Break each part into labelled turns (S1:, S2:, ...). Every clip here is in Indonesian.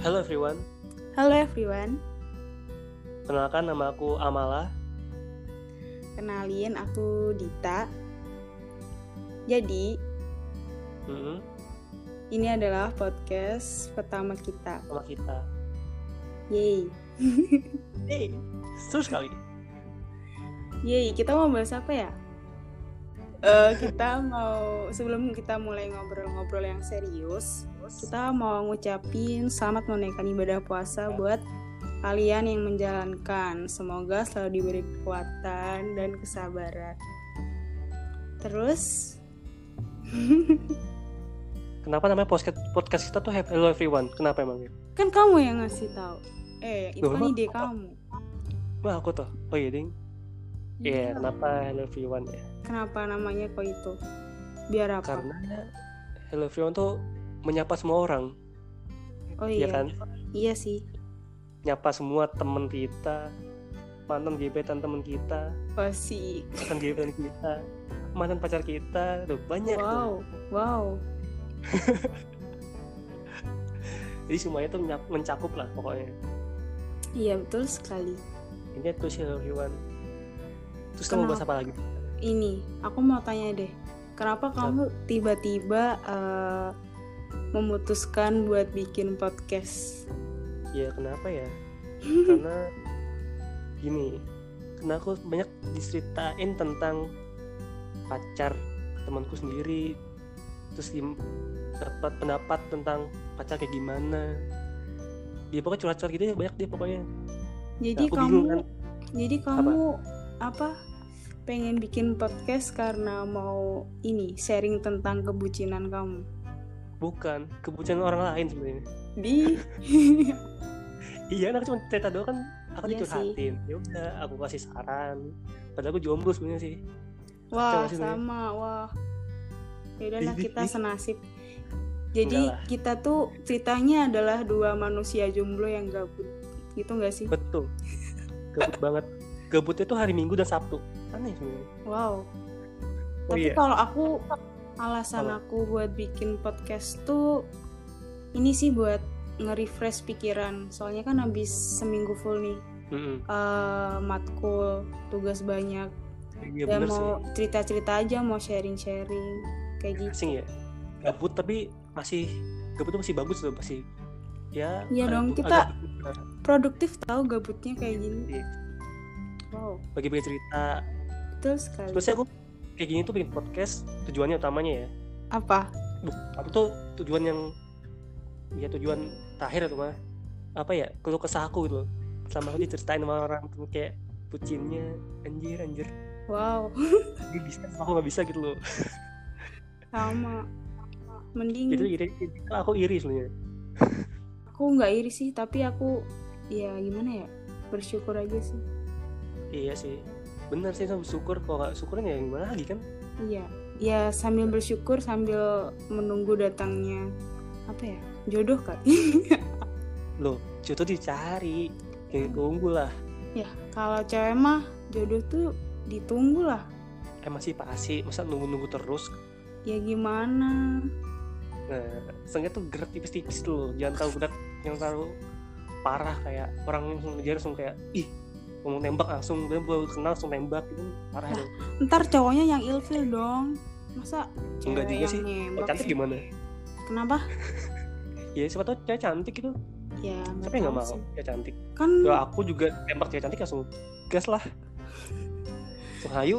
S1: Halo everyone,
S2: Halo everyone,
S1: perkenalkan nama aku Amala.
S2: kenalin aku Dita. Jadi,
S1: Mm-mm,
S2: ini adalah podcast pertama kita.
S1: sama kita.
S2: Yeay.
S1: Hey, seru sekali.
S2: Yeay, kita mau bahas apa ya? Eh, kita mau sebelum kita mulai ngobrol-ngobrol yang serius, kita mau ngucapin selamat menunaikan ibadah puasa buat kalian yang menjalankan. Semoga selalu diberi kekuatan dan kesabaran. Terus
S1: Kenapa namanya podcast podcast kita tuh Hello Everyone? Kenapa emang? gitu?
S2: kan kamu yang ngasih tahu. Eh, itu
S1: Loh,
S2: kan
S1: emang
S2: ide
S1: apa?
S2: kamu.
S1: Wah aku tuh. Oh iya ding. Iya, kenapa Hello Everyone ya?
S2: Kenapa namanya kok itu? Biar apa?
S1: Karena Hello Everyone tuh menyapa semua orang,
S2: oh
S1: ya
S2: iya.
S1: kan?
S2: Iya sih.
S1: Nyapa semua temen kita, mantan gebetan temen kita,
S2: Oh, Pasti.
S1: mantan gebetan kita, mantan pacar kita, tuh banyak. tuh.
S2: Wow, wow.
S1: Jadi semuanya tuh menyap- mencakup lah pokoknya.
S2: Iya betul sekali.
S1: Ini tuh sih Hello Everyone. Terus kamu
S2: Kenapa?
S1: bahas apa lagi?
S2: Ini, aku mau tanya deh.
S1: Iya.
S2: Kenapa kamu tiba-tiba eh, memutuskan buat bikin podcast?
S1: ya kenapa ya karena gini karena aku banyak diceritain tentang pacar temanku sendiri terus gim- dapat pendapat tentang pacar kayak gimana dia pokoknya curhat-curhat gitu ya banyak dia pokoknya
S2: Jadi
S1: aku
S2: kamu
S1: bingung kan
S2: jadi kamu apa? pengen bikin podcast karena mau ini sharing tentang kebucinan kamu
S1: bukan kebucinan orang lain sebenarnya
S2: di
S1: iya kan aku cuma cerita doang kan aku
S2: Iya
S1: dicurhatin ya udah aku kasih saran padahal aku jomblo sebenarnya sih Coba
S2: Wah,
S1: sini.
S2: sama. Wah. Ya udahlah
S1: Ih,
S2: kita
S1: ih.
S2: senasib. Jadi
S1: Enggak lah.
S2: kita tuh ceritanya adalah dua manusia jomblo yang gabut. Gitu nggak sih?
S1: betul gabut banget gabutnya tuh hari minggu dan sabtu aneh sebenarnya
S2: Wow.
S1: Oh
S2: Tapi
S1: iya.
S2: kalau aku alasan
S1: Apa?
S2: aku buat bikin podcast tuh ini sih buat nge-refresh pikiran. Soalnya kan habis seminggu full nih
S1: Mm-mm.
S2: eh, matkul, tugas banyak.
S1: Iya
S2: Dan
S1: bener
S2: mau
S1: sih.
S2: cerita-cerita aja, mau sharing-sharing kayak gitu.
S1: Asing ya. Gabut tapi masih gabut tuh masih bagus tuh masih ya. agak-
S2: Iya dong,
S1: agak-
S2: kita- Produktif tahu gabutnya kayak gini.
S1: Iya,
S2: Wow,
S1: bagi-bagi cerita.
S2: betul sekali.
S1: Terus aku kayak gini tuh bikin podcast tujuannya utamanya ya.
S2: apa?
S1: Aku tuh tujuan yang ya tujuan terakhir tuh mah apa ya keluh kesah aku gitu loh. Selama aku diceritain sama orang tuh kayak pucinnya anjir anjir
S2: Wow,
S1: dia bisa aku nggak bisa gitu loh
S2: sama. Mending
S1: itu iri itu aku iri sebenarnya
S2: aku nggak iri sih, tapi aku ya gimana ya? Bersyukur aja sih.
S1: iya sih bener sih sama syukur kalau nggak syukurin ya gimana lagi kan
S2: Iya, ya sambil bersyukur sambil menunggu datangnya apa ya? Jodoh kali.
S1: loh jodoh dicari
S2: Hmm.
S1: yang tunggu lah
S2: ya, kalau cewek mah jodoh tuh ditunggu lah.
S1: emang sih pasti masa nunggu-nunggu terus
S2: Ya gimana?
S1: nah seenggaknya tuh gerak tipis-tipis dulu jangan tahu gerak yang terlalu parah kayak orang yang langsung ngejar langsung kayak ih ngomong tembak langsung dia baru kenal langsung tembak itu parah dong
S2: Ntar cowoknya yang ilfil dong. Masa
S1: Enggak
S2: cewek
S1: juga
S2: yang
S1: sih.
S2: nembak
S1: oh, cantik
S2: sih?
S1: gimana
S2: Kenapa?
S1: ya siapa tau cewek cantik itu
S2: Ya, nggak
S1: siapa yang
S2: tahu
S1: nggak mau
S2: sih.
S1: cewek cantik
S2: Kan
S1: ya aku juga tembak cewek cantik langsung gas lah langsung hayu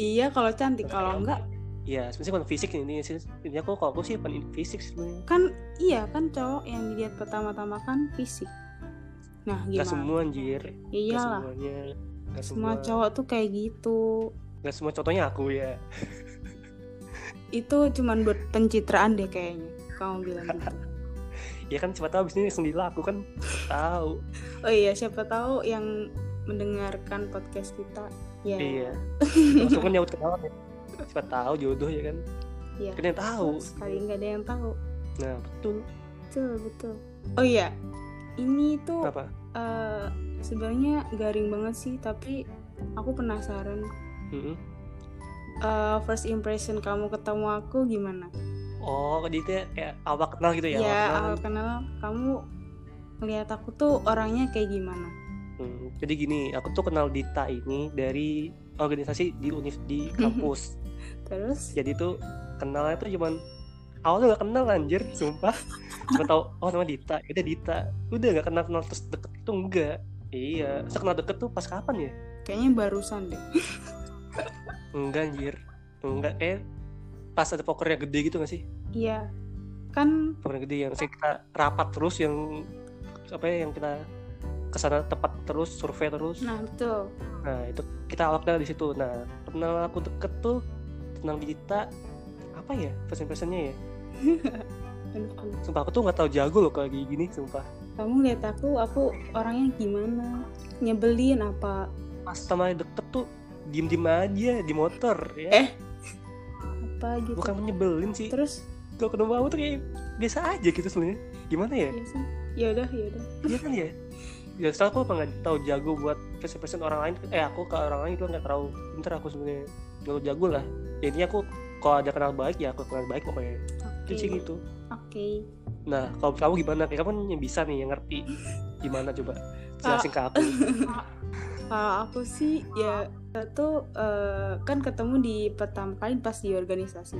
S2: iya kalau cantik,
S1: Terus
S2: kalau
S1: kayak-
S2: enggak
S1: ya sebenarnya bukan fisik ini sih ini aku kalau aku sih bukan fisik sebenarnya
S2: kan iya kan cowok yang dilihat pertama-tama kan fisik nah
S1: nggak
S2: gimana
S1: semua anjir Gak
S2: iyalah
S1: semuanya Gak semua,
S2: semua cowok tuh kayak gitu
S1: Gak semua contohnya aku ya
S2: itu cuman buat pencitraan deh kayaknya kamu bilang gitu
S1: Ya kan siapa tahu abis ini langsung dilaku kan Tahu
S2: oh iya siapa tahu yang mendengarkan podcast kita ya
S1: Iya Langsung kan nyaut ke dalam ya Siapa tahu jodoh ya kan
S2: Iya.
S1: Kan yang tahu
S2: sekali Oh. nggak ada yang tahu
S1: Nah betul
S2: betul betul oh iya ini tuh
S1: Kenapa?
S2: eh, sebenarnya garing banget sih tapi aku penasaran
S1: Mm-mm.
S2: Eh, first impression kamu ketemu aku gimana
S1: Oh dia tuh kayak awal kenal gitu ya
S2: ya
S1: awal kenal.
S2: awal kenal kamu ngelihat aku tuh orangnya kayak gimana
S1: Hmm, jadi gini, aku tuh kenal Dita ini dari organisasi di univ di
S2: Mhm.
S1: kampus.
S2: terus
S1: jadi tuh kenalnya tuh cuman awalnya nggak kenal anjir, sumpah. Cuma tahu oh nama Dita, ya udah Dita. Udah nggak kenal kenal terus deket tuh enggak. Iya, saya kenal deket tuh pas kapan ya?
S2: kayaknya barusan deh
S1: Enggak anjir, enggak eh pas ada pokernya gede gitu gak sih?
S2: iya kan
S1: Pokernya gede yang saya kita rapat terus yang apa ya yang kita kesana tepat terus survei terus.
S2: nah betul
S1: Nah itu kita awalnya di situ. Nah kenal aku deket tuh tentang Dita apa ya first impressionnya ya?
S2: Aduh, kan.
S1: Sumpah aku tuh nggak tahu jago loh kalau kayak gini sumpah.
S2: kamu lihat aku aku orangnya gimana nyebelin apa
S1: Pas sama deket tuh diem diem aja di motor
S2: Eh.
S1: ya.
S2: apa gitu
S1: Bukan menyebelin sih.
S2: terus
S1: Kalau ketemu aku tuh kayak biasa aja gitu sebenarnya. Gimana ya?
S2: ya sih yaudah yaudah
S1: Iya kan ya? Ya setelah aku apa nggak tahu jago buat first impression orang lain. Eh aku ke orang lain itu nggak terlalu pinter aku sebenarnya nggak terlalu jago lah. Ya, Intinya aku kalau ada kenal baik ya aku kenal baik pokoknya.
S2: oke
S1: Itu sih
S2: oke
S1: gitu. Nah, kalau kamu gimana? Kayak kamu yang bisa nih, yang ngerti gimana coba jelasin ke aku.
S2: Kalau Eh, aku sih ya kita tuh eh, kan ketemu di pertama kali pas di organisasi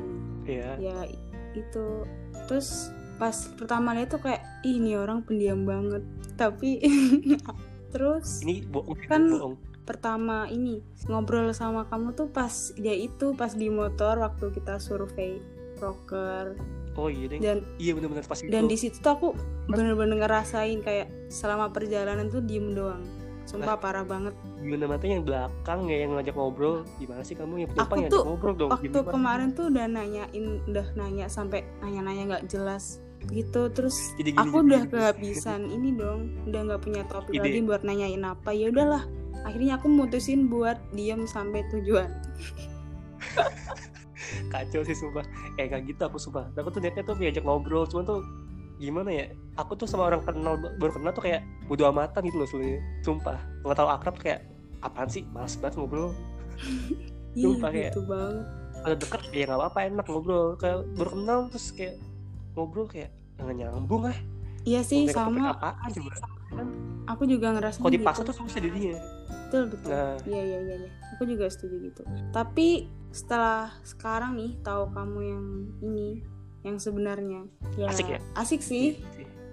S1: Iya.
S2: ya i- itu terus pas pertama lihat tuh kayak "Ih, ini orang pendiam banget tapi terus
S1: Ini bohong, ini
S2: Kan-
S1: bohong.
S2: pertama ini ngobrol sama kamu tuh pas dia itu pas di motor waktu kita survei broker
S1: Oh iya deh.
S2: dan
S1: Iya benar-benar pas
S2: dan di
S1: itu.
S2: situ tuh aku bener-bener ngerasain kayak selama perjalanan tuh diem doang sumpah parah banget
S1: Gimana matanya yang belakang ya yang ngajak ngobrol? Gimana sih kamu yang
S2: Aku
S1: penumpang yang
S2: tuh
S1: ngajak ngobrol dong?
S2: waktu
S1: Gimana?
S2: kemarin tuh udah nanyain udah nanya sampai nanya-nanya nggak jelas gitu terus
S1: Jadi gini,
S2: aku
S1: gini,
S2: udah
S1: gini.
S2: kehabisan ini dong udah nggak punya topik
S1: Ide.
S2: lagi buat nanyain apa ya udahlah akhirnya aku mutusin buat diem sampai tujuan
S1: kacau sih sumpah. Eh kayak gitu aku sumpah. Aku tuh niatnya tuh diajak ngobrol, cuman tuh gimana ya? Aku tuh sama orang kenal baru kenal tuh kayak bodo amatan gitu loh sebenarnya. Sumpah, nggak tahu akrab tuh kayak apaan sih? Males banget ngobrol.
S2: Ih,
S1: Sumpah, kayak-
S2: gitu banget
S1: kalau deket ya nggak apa-apa enak ngobrol kayak baru kenal terus kayak ngobrol kayak nggak nyambung ah
S2: iya sih
S1: Mereka topik
S2: sama
S1: apaan coba
S2: aku juga ngerasa gitu.
S1: kalau dipaksa tuh susah jadinya
S2: betul betul
S1: nah
S2: Iya iya iya iya. aku juga setuju gitu. Tapi setelah sekarang nih tahu kamu yang ini yang sebenarnya ya,
S1: Asik ya?
S2: Asik sih,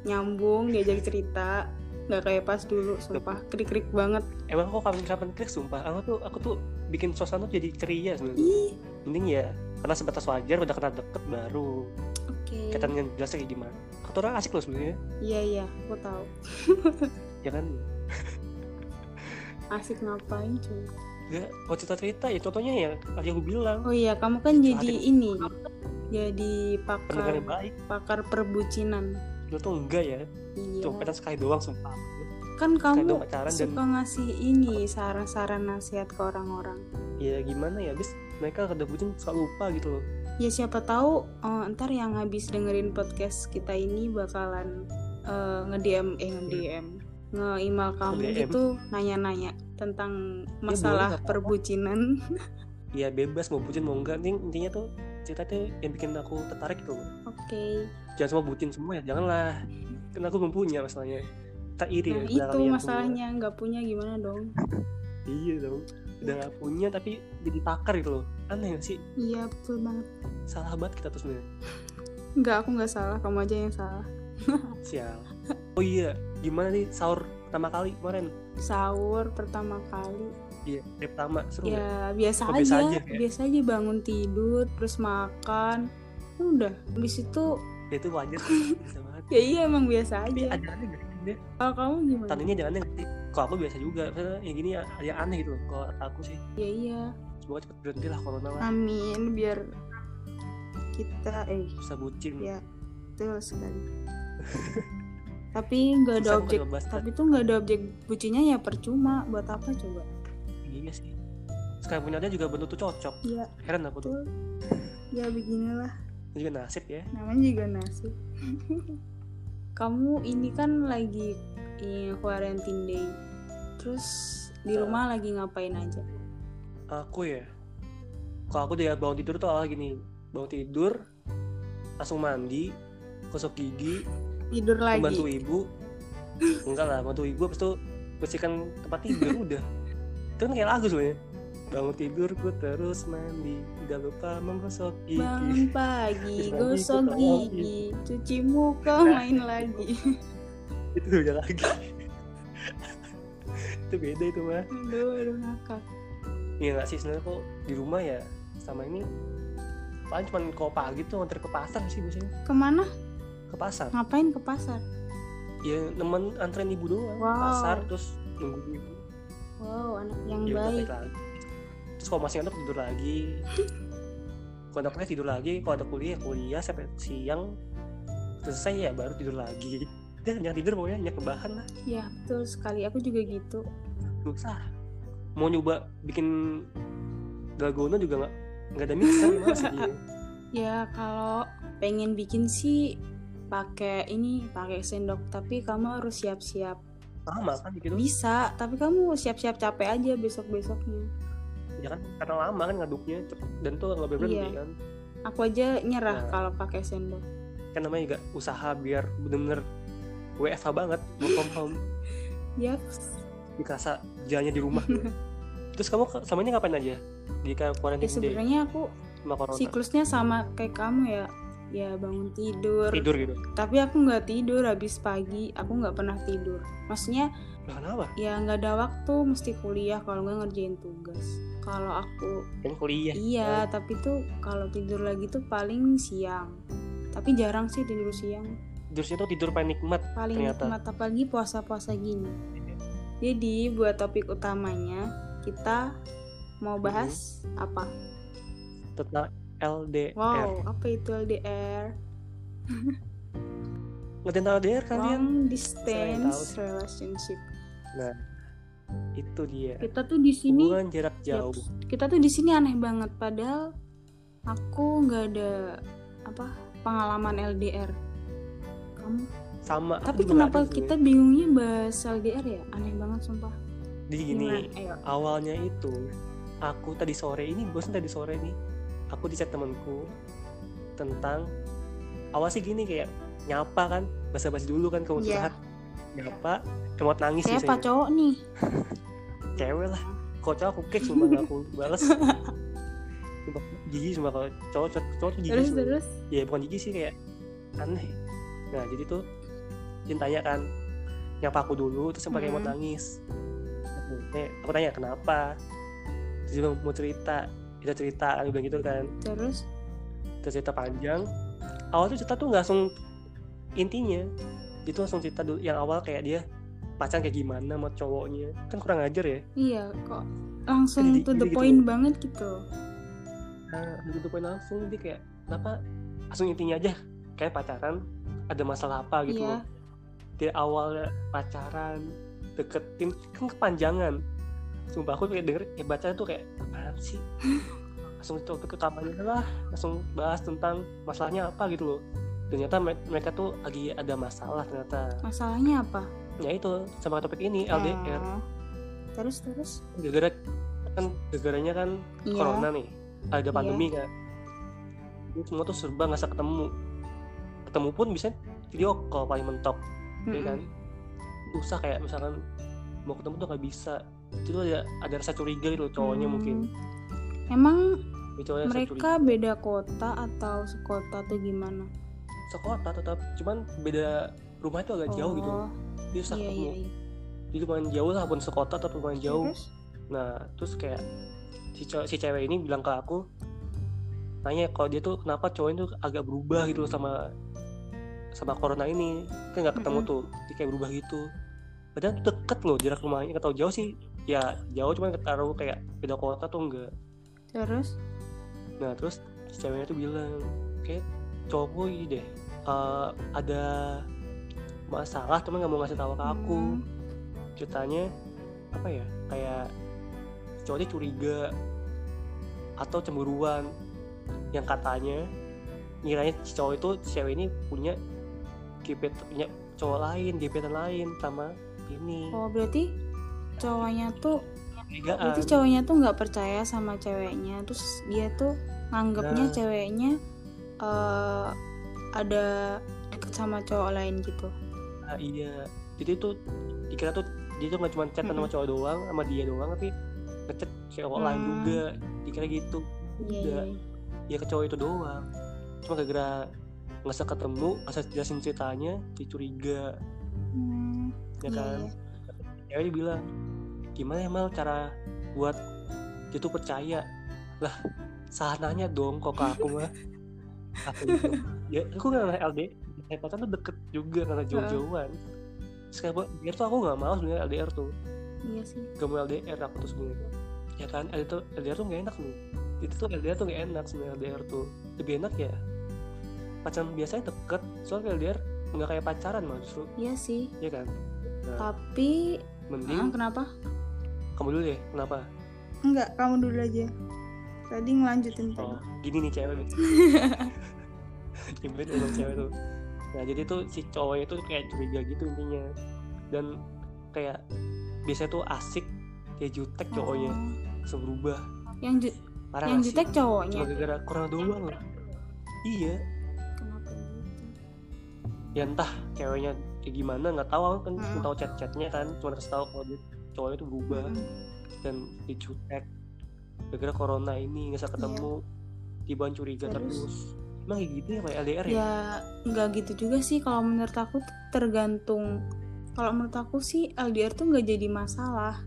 S2: nyambung diajak cerita, nggak kayak pas dulu, sumpah krik-krik banget.
S1: emang kok kapan kapan klik sumpah aku tuh aku tuh bikin suasana tuh jadi ceria sebenarnya
S2: Ih,
S1: mending ya karena sebatas wajar udah kenal deket baru
S2: Iya. oke.
S1: kaitan yang jelasnya kayak gimana kata orang asik loh sebenarnya
S2: Iya iya, aku tahu.
S1: ya kan
S2: Asik ngapain cuy?
S1: nggak mau cerita cerita ya contohnya yang tadi aku bilang
S2: Oh iya, kamu kan jadi
S1: Asik.
S2: ini, jadi
S1: pendengar yang
S2: pakar
S1: baik
S2: pakar perbucinan.
S1: lu tuh enggak ya
S2: Iya.
S1: cuma kaitan sekali doang sumpah
S2: Kan
S1: sekali
S2: kamu
S1: doang pacaran dan
S2: suka ngasih ini saran-saran nasihat ke orang-orang.
S1: ya gimana ya bis mereka kada bucin suka lupa gitu loh
S2: ya siapa tahu eh, ntar yang habis dengerin podcast kita ini bakalan eh, nge-DM eh nge-DM nge-email kamu
S1: Nge-DM.
S2: gitu nanya-nanya tentang
S1: boleh,
S2: masalah
S1: nggak apa-apa.
S2: perbucinan
S1: ya bebas mau bucin mau enggak Ini intinya tuh cerita tuh yang bikin aku tertarik gitu loh
S2: oke
S1: jangan semua bucin semua ya janganlah karena aku belum punya masalahnya tak iri
S2: nah
S1: ya,
S2: itu
S1: kalian semua.
S2: masalahnya nggak punya gimana dong
S1: iya dong udah gak punya tapi jadi pakar gitu loh aneh gak sih
S2: iya betul banget
S1: salah banget kita tuh sebenarnya
S2: nggak aku nggak salah kamu aja yang salah
S1: sial oh iya gimana nih sahur pertama kali kemarin
S2: sahur pertama kali
S1: iya hari pertama seru nggak?
S2: ya biasa
S1: Oh, biasa
S2: aja biasa
S1: aja
S2: aja,
S1: kayak.
S2: bangun tidur terus makan ya udah habis itu
S1: ya itu wajar sih, biasa banget
S2: ya iya emang biasa
S1: tapi
S2: aja
S1: ada aneh gak sih dia?
S2: kalau kamu gimana
S1: tandanya ada aneh gak sih kalau aku biasa juga Maksudnya ya gini ya ada aneh gitu loh kalau aku sih
S2: ya iya
S1: semoga cepet berhenti lah corona
S2: Ah.
S1: lah
S2: Amin biar kita eh
S1: bisa bucin
S2: ya betul sekali. tapi nggak ada
S1: Susah
S2: objek
S1: kalau bahas
S2: tapi tuh nggak ada objek bucinya ya percuma buat apa coba?
S1: tadi. iya sih sekarang punya dia juga bentuk tuh cocok
S2: Iya
S1: heran aku tuh
S2: betul. Ya beginilah
S1: Ini juga nasib ya
S2: namanya juga nasib. Kamu ini kan lagi eh, quarantine day. Terus di
S1: Betul.
S2: rumah lagi ngapain aja?
S1: aku ya kalau aku dia bangun tidur tuh awal gini bangun tidur langsung mandi gosok gigi
S2: Tidur lagi.
S1: membantu ibu enggak lah bantu ibu habis itu bersihkan tempat tidur udah itu kan kayak lagu sebenarnya bangun tidurku terus mandi tidak lupa menggosok gigi
S2: Bangun pagi,
S1: Terus
S2: gosok
S1: lagi, terus lagi.
S2: gigi, cuci muka, main lagi.
S1: itu udah lagi itu beda itu mah
S2: Aduh, aduh ngakak.
S1: Iya nggak sih sebenarnya kok di rumah ya sama ini paling cuma kalau pagi tuh nganter ke pasar sih biasanya
S2: Kemana?
S1: ke pasar
S2: Ngapain ke pasar?
S1: ya nemen anterin ibu doang ke
S2: Wow.
S1: pasar terus nunggu ibu
S2: Wow, anak yang
S1: ya udah
S2: baik.
S1: balik lagi terus kalau masih ngantuk tidur lagi kalau ada kuliah tidur lagi kalau ada kuliah kuliah sampai siang terus selesai ya baru tidur lagi dan jangan tidur pokoknya hanya kebahan lah
S2: Ya, betul sekali. Aku juga gitu.
S1: nggak usah mau nyoba bikin dalgona juga nggak nggak ada mixer males jadinya.
S2: Ya, kalau pengen bikin sih pakai ini, pakai sendok. Tapi kamu harus siap-siap.
S1: lama kan gitu
S2: Bisa, tapi kamu siap-siap capek aja besok-besoknya.
S1: ya kan karena lama kan ngaduknya cepet dan tuh nggak berhenti
S2: Iya.
S1: kan
S2: Aku aja nyerah
S1: Nah.
S2: kalau pakai sendok.
S1: kan namanya juga usaha biar bener-bener WFH banget work from home
S2: Yaps.
S1: dikasa jalannya di rumah gitu. terus kamu ke- sama ini ngapain aja di ka-
S2: Ya
S1: quarantine day
S2: sebenarnya aku
S1: sama corona
S2: siklusnya sama kayak kamu ya. Ya bangun tidur.
S1: tidur gitu
S2: Tapi aku nggak tidur habis pagi. Aku nggak pernah tidur. Maksudnya
S1: nah, kenapa
S2: ya nggak ada waktu mesti kuliah kalau nggak ngerjain tugas kalau aku
S1: kan kuliah
S2: iya tapi tuh kalau tidur lagi tuh paling siang tapi jarang sih tidur siang
S1: terusnya tuh tidur paling nikmat
S2: paling
S1: Ternyata.
S2: nikmat apalagi puasa-puasa gini jadi buat topik utamanya kita mau bahas apa
S1: tentang LDR
S2: wow apa itu LDR
S1: ngerti tentang LDR kalian
S2: long
S1: sering
S2: distance relationship
S1: Nah, itu dia
S2: kita tuh di sini
S1: hubungan jarak jauh
S2: Yaps. Kita tuh di sini aneh banget padahal aku nggak ada apa pengalaman LDR. Kamu.
S1: sama aku
S2: Tapi
S1: juga nggak
S2: kenapa
S1: ada
S2: kita bingungnya bahas LDR ya? Aneh banget sumpah.
S1: sebenarnya. jadi gini
S2: Gimana? Ayo.
S1: awalnya itu aku tadi sore ini bosan tadi sore nih aku di chat temanku tentang awal sih gini kayak nyapa kan basa-basi dulu kan kamu
S2: Iya.
S1: curhat nyapa emot nangis
S2: Saya
S1: biasanya.
S2: pak cowok nih.
S1: cewek lah kalau cowok aku kick cuma aku balas Sumpah, jijik cuma kalau cowok cowok, cowok tuh jijik
S2: Terus
S1: sumpah.
S2: terus.
S1: ya bukan jijik sih kayak aneh nah jadi tuh cintanya kan nyapa aku dulu terus yang pakai emot
S2: Hmm.
S1: nangis aku, "Nek," aku tanya kenapa terus dia bilang, mau cerita kita cerita kan dia bilang gitu kan
S2: Terus
S1: terus cerita panjang awal tuh cerita tuh nggak langsung intinya itu langsung cerita dulu yang awal kayak dia pacaran kayak gimana sama cowoknya kan kurang ajar ya
S2: iya kok langsung
S1: Jadi-
S2: to
S1: jadi
S2: the
S1: gitu.
S2: point banget gitu.
S1: nah begitu poin langsung dia kayak kenapa langsung intinya aja kayak pacaran ada masalah apa gitu
S2: Iya.
S1: loh dari awal pacaran deketin kan kepanjangan sumpah aku kayak denger ya baca tuh kayak apaan sih langsung topik utamanya lah langsung bahas tentang masalahnya apa gitu loh ternyata me- mereka tuh lagi ada masalah ternyata
S2: Masalahnya apa?
S1: ya itu sama topik ini LDR
S2: Oh. Terus terus.
S1: gara-gara kan gara-garanya kan
S2: Iya.
S1: corona nih ada pandemi kan Ini semua tuh serba nggak bisa ketemu ketemu pun bisa video call paling mentok ya
S2: Mm-mm.
S1: kan susah kayak misalkan mau ketemu tuh nggak bisa itu tuh ada, ada rasa curiga gitu loh cowoknya
S2: Hmm.
S1: mungkin
S2: Emang
S1: Ini cowoknya rasa curiga
S2: mereka beda kota atau sekota atau gimana?
S1: sekota tetap cuman beda rumah itu agak jauh gitu
S2: Oh,
S1: dia susah
S2: Iya
S1: ketemu
S2: iya iya.
S1: jadi lumayan jauh lah pun sekota atau lumayan jauh
S2: Terus?
S1: nah terus kayak si, cowok- si cewek ini bilang ke aku nanya kalau dia tuh kenapa cowoknya tuh agak berubah gitu loh sama sama corona ini kan nggak ketemu
S2: Mm-mm.
S1: tuh dia kayak berubah gitu padahal tuh deket loh jarak rumahnya nggak tahu jauh sih ya jauh cuman ketaruh kayak beda kota tuh enggak
S2: Terus?
S1: Nah terus si ceweknya tuh bilang kayak cowok gue ini deh eh, ada masalah cuman nggak mau ngasih tahu ke aku
S2: Hmm.
S1: ceritanya apa ya kayak cowoknya curiga atau cemburuan yang katanya ngiranya si cowok itu si cewek ini punya gebet punya cowok lain gebetan lain sama ini
S2: Oh berarti cowoknya tuh
S1: curigaan
S2: berarti cowoknya tuh nggak percaya sama ceweknya terus dia tuh nganggapnya
S1: Nah.
S2: ceweknya eh, ada deket sama cowok lain gitu
S1: Ah, iya jadi tuh dikira tuh dia tuh nggak cuma chat sama cowok doang sama dia doang tapi ngechat cewek lain
S2: Hmm.
S1: juga dikira gitu
S2: Iya, iya, iya.
S1: ya ke cowok itu doang cuma gara-gara nggak bisa ketemu nggak bisa jelasin ceritanya dia curiga
S2: Hmm,
S1: ya
S2: iya,
S1: kan
S2: iya.
S1: ceweknya bilang gimana ya Mel cara buat dia tuh percaya lah sahananya dong kok ke aku mah aku gitu. ya aku nggak nggak LD Hepatan tuh deket juga karena jauh-jauhan sekarang LDR tuh aku nggak mau sebenarnya LDR tuh
S2: Iya sih.
S1: gak mau LDR aku tuh sebenarnya ya kan LDR tuh, LDR tuh gak enak nih itu tuh LDR tuh gak enak sebenarnya LDR tuh lebih enak ya pacaran biasanya deket soalnya LDR nggak kayak pacaran mah justru
S2: Iya sih.
S1: ya kan nah,
S2: Tapi ah,
S1: mending
S2: kenapa?
S1: kamu dulu deh kenapa
S2: Enggak, kamu dulu aja. Tadi ngelanjutin tadi.
S1: Oh, gini nih cewek Gimana emang cewek tuh Nah jadi tuh si cowoknya tuh kayak curiga gitu intinya Dan kayak biasanya tuh asik Kayak jutek cowoknya Nah,
S2: Oh.
S1: Langsung berubah
S2: Yang ju-
S1: Parah
S2: yang
S1: gak sih?
S2: jutek
S1: Cuma
S2: cowoknya.
S1: gara-gara kurang doang lah Iya
S2: Kenapa?
S1: Ya entah ceweknya kayak gimana nggak tahu aku kan
S2: Mm.
S1: nggak tahu chat-chatnya kan Cuma kasih tahu kalau dia cowoknya tuh berubah
S2: Hmm.
S1: Dan dicutek Gara-gara corona ini gak bisa ketemu Tiba curiga
S2: Iya. Terus?
S1: terus Emang kayak gitu ya kayak LDR ya?
S2: Ya nggak gitu juga sih kalau menurut aku tuh tergantung kalau menurut aku sih LDR tuh nggak jadi masalah